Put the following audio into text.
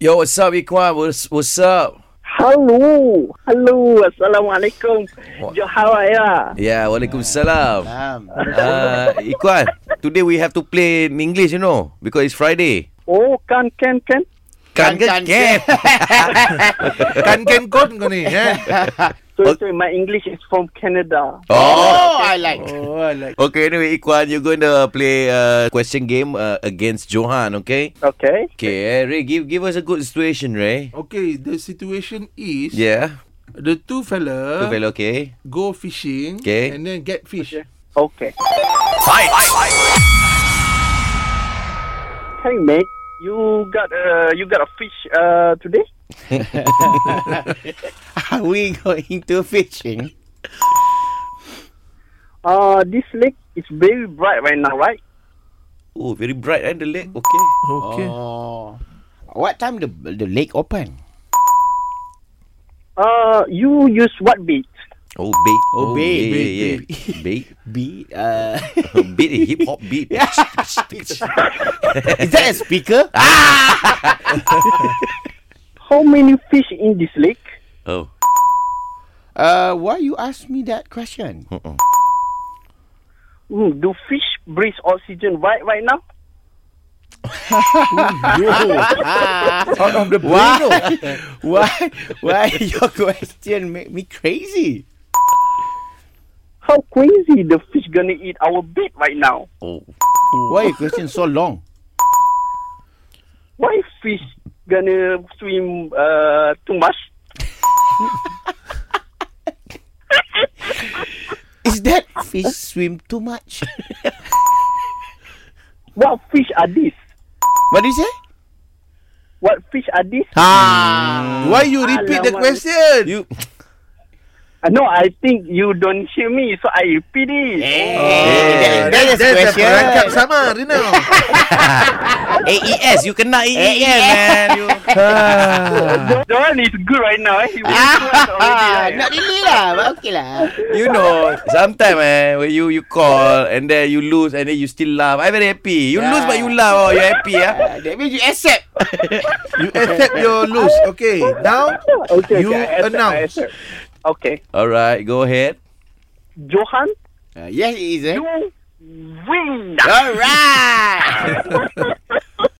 Yo, what's up, Iqbal? What's, what's up? Hello. Hello. Assalamualaikum. Wa- Johor ya. Yeah, Waalaikumsalam. Faham. Uh, Iqbal, today we have to play English, you know, because it's Friday. Oh, kan kan kan. Kan Kan, ke kan, kan? Kan Ken Kon kau ni Oh. eh? Sorry, sorry. My English is from Canada. Oh. Oh, I like. Oh, I like. Okay, anyway, Iqbal, you're going to play a question game uh, against Johan, okay? Okay. Okay, eh, Ray, give, give us a good situation, Ray. Okay, the situation is Yeah. the two fella, Two fellow, okay? go fishing Okay. and then get fish. Okay. Hey mate, you got uh you got a fish uh today? Are we going to fishing? Uh, this lake is very bright right now, right? Oh, very bright, eh, the leg? Okay. Okay. Oh. What time the the lake open? Uh, you use what bait? Oh, bait. Oh, bait, Yeah, bait, yeah, bait. yeah. Bait. B. Uh, Beat eh, hip-hop beat. is that a speaker? How many fish in this lake? oh. Uh, why you ask me that question? Uh-uh. Hmm, do fish breathe oxygen right right now? Out of the blue. Why? why? Why your question make me crazy? How crazy the fish gonna eat our bait right now? Oh. Why your question so long? Why fish gonna swim uh, too much? Is that fish swim too much? What fish are these? what do you say? What fish are these? Ah. Why you repeat the Alamak. question? You Uh, no, I think you don't hear me, so I repeat it. Eh, Eh. Hey, that, that is Ah, That's a perangkap question. samar, you know. AES, E you kena E AES, man. You. The, the one is good right now. Eh? You Ah. already, Not right? really lah, but okay lah. you know, sometimes eh, when you you call and then you lose and then you still laugh. I very happy. You Yeah. lose but you laugh. Oh, you happy ah. Uh, that means you accept. You accept your lose. Okay, now Okay, You okay, I accept, I announce. accept. Okay, All right, go ahead. Johan, Uh, yes, it is. Eh? you win. All right.